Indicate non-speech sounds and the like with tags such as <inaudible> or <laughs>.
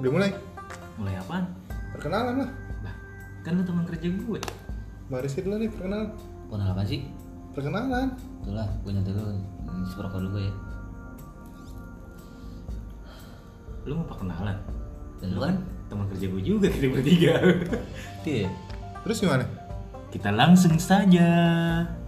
Udah mulai? Mulai apaan? Perkenalan lah. Lah, kan lu teman kerja gue. Barisnya dulu nih perkenalan. Kenal apa sih? Perkenalan. Itulah, punya dulu Hmm, Isep rokok dulu gue ya Lu mau perkenalan? Dan lu kan? Teman kerja gue juga kita bertiga. <laughs> Iya Terus gimana? kita langsung saja.